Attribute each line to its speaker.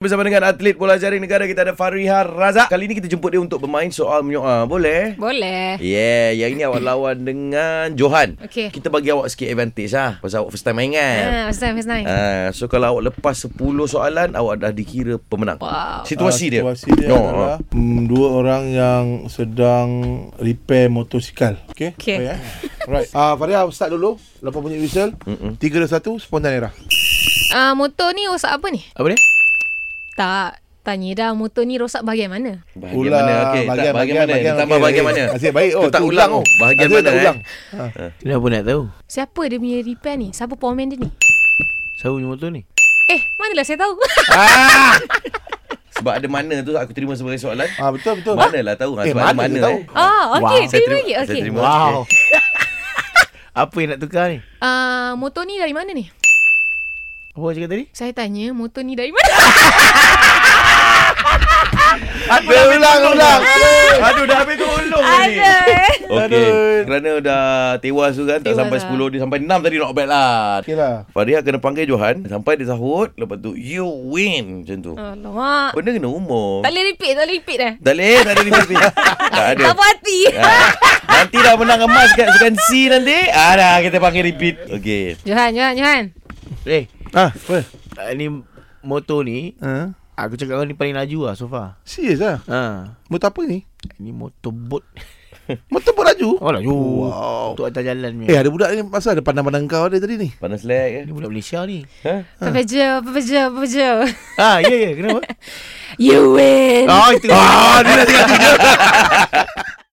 Speaker 1: Bersama dengan atlet bola jaring negara kita ada Fariha Razak. Kali ini kita jemput dia untuk bermain soal menyoal. Boleh?
Speaker 2: Boleh.
Speaker 1: Yeah, yang ini awak lawan dengan Johan.
Speaker 2: Okey.
Speaker 1: Kita bagi awak sikit advantage lah. Pasal awak first time main kan?
Speaker 2: Ah, first time, first time.
Speaker 1: Ah, so kalau awak lepas 10 soalan, awak dah dikira pemenang.
Speaker 2: Wow.
Speaker 1: Situasi
Speaker 3: Ah,
Speaker 1: dia.
Speaker 3: Situasi dia
Speaker 1: No,
Speaker 3: adalah mm, dua orang yang sedang repair motosikal. Okay?
Speaker 2: Okey.
Speaker 3: Baik, eh? Right. Ah, Faria start dulu. Lepas bunyi whistle.
Speaker 1: Mm-mm.
Speaker 3: 3 2 1 spontan era.
Speaker 2: Ah, motor ni rosak apa ni?
Speaker 1: Apa dia?
Speaker 2: Tak. Tanya dah motor ni rosak bahagian mana?
Speaker 1: Bahagian mana? Okey, tak, bahagian, mana? Bahagian, tambah
Speaker 3: okey.
Speaker 1: bahagian mana?
Speaker 3: Nasib baik. Oh,
Speaker 1: Tu tak
Speaker 3: tu
Speaker 1: ulang.
Speaker 3: oh.
Speaker 1: oh. Bahagian
Speaker 3: Nasib
Speaker 1: mana?
Speaker 3: tak
Speaker 1: eh?
Speaker 3: ulang.
Speaker 4: Kenapa nak tahu?
Speaker 2: Siapa dia punya repair ni? Siapa powerman dia ni?
Speaker 4: Sahu punya motor ni?
Speaker 2: Eh, manalah saya tahu.
Speaker 1: Ah! Sebab ada mana tu aku terima sebagai soalan.
Speaker 3: Ah, betul betul.
Speaker 1: Manalah tahu kan?
Speaker 3: Eh,
Speaker 1: Sebab ada
Speaker 3: mana
Speaker 1: mana
Speaker 3: dia tahu?
Speaker 1: eh?
Speaker 2: ah, okey.
Speaker 4: Wow.
Speaker 1: Saya
Speaker 2: Terima
Speaker 1: terima-
Speaker 2: lagi.
Speaker 1: saya
Speaker 2: Okey.
Speaker 1: terima.
Speaker 4: Wow. Apa yang nak tukar ni?
Speaker 2: Ah, motor ni dari mana ni?
Speaker 4: Apa awak cakap tadi?
Speaker 2: Saya tanya, motor ni dari mana?
Speaker 3: Dia ulang ulang.
Speaker 1: Aduh, dah habis tolong ni.
Speaker 2: Ada.
Speaker 1: Okey. Kerana dah tewas tu kan tak
Speaker 2: Tewas
Speaker 1: sampai
Speaker 2: lah.
Speaker 1: 10 dia sampai 6 tadi not bad lah.
Speaker 3: Okeylah.
Speaker 1: Faria kena panggil Johan sampai dia sahut lepas tu you win macam
Speaker 2: Hmm.
Speaker 1: tu.
Speaker 2: Alamak.
Speaker 1: Benda kena umur.
Speaker 2: Tak boleh repeat, tak boleh repeat dah.
Speaker 1: Tak boleh, tak ada limit. Tak ada.
Speaker 2: Apa hati?
Speaker 1: Ah, nanti dah menang emas kat sukan C nanti. Ah dah kita panggil repeat. Okey.
Speaker 2: Johan, Johan, Johan.
Speaker 4: Eh,
Speaker 3: Ah, apa?
Speaker 4: ah, ni motor ni
Speaker 3: Ah.
Speaker 4: aku cakap kau ni paling laju lah so far.
Speaker 3: Serius ah.
Speaker 4: Ha.
Speaker 3: Motor apa ni?
Speaker 4: Ni motor bot.
Speaker 3: Motor pun laju.
Speaker 4: Oh laju.
Speaker 3: Wow.
Speaker 4: Untuk atas jalan ni.
Speaker 3: Eh, ada budak ni pasal ada pandang-pandang kau dia tadi ni.
Speaker 1: Panas lag eh. ke?
Speaker 4: Ni budak Malaysia ni.
Speaker 1: Ha?
Speaker 2: Pepeja, pepeja, pepeja.
Speaker 4: Ha, ya ya, kenapa?
Speaker 2: You win.
Speaker 4: Oh, itu. Ah, dia nak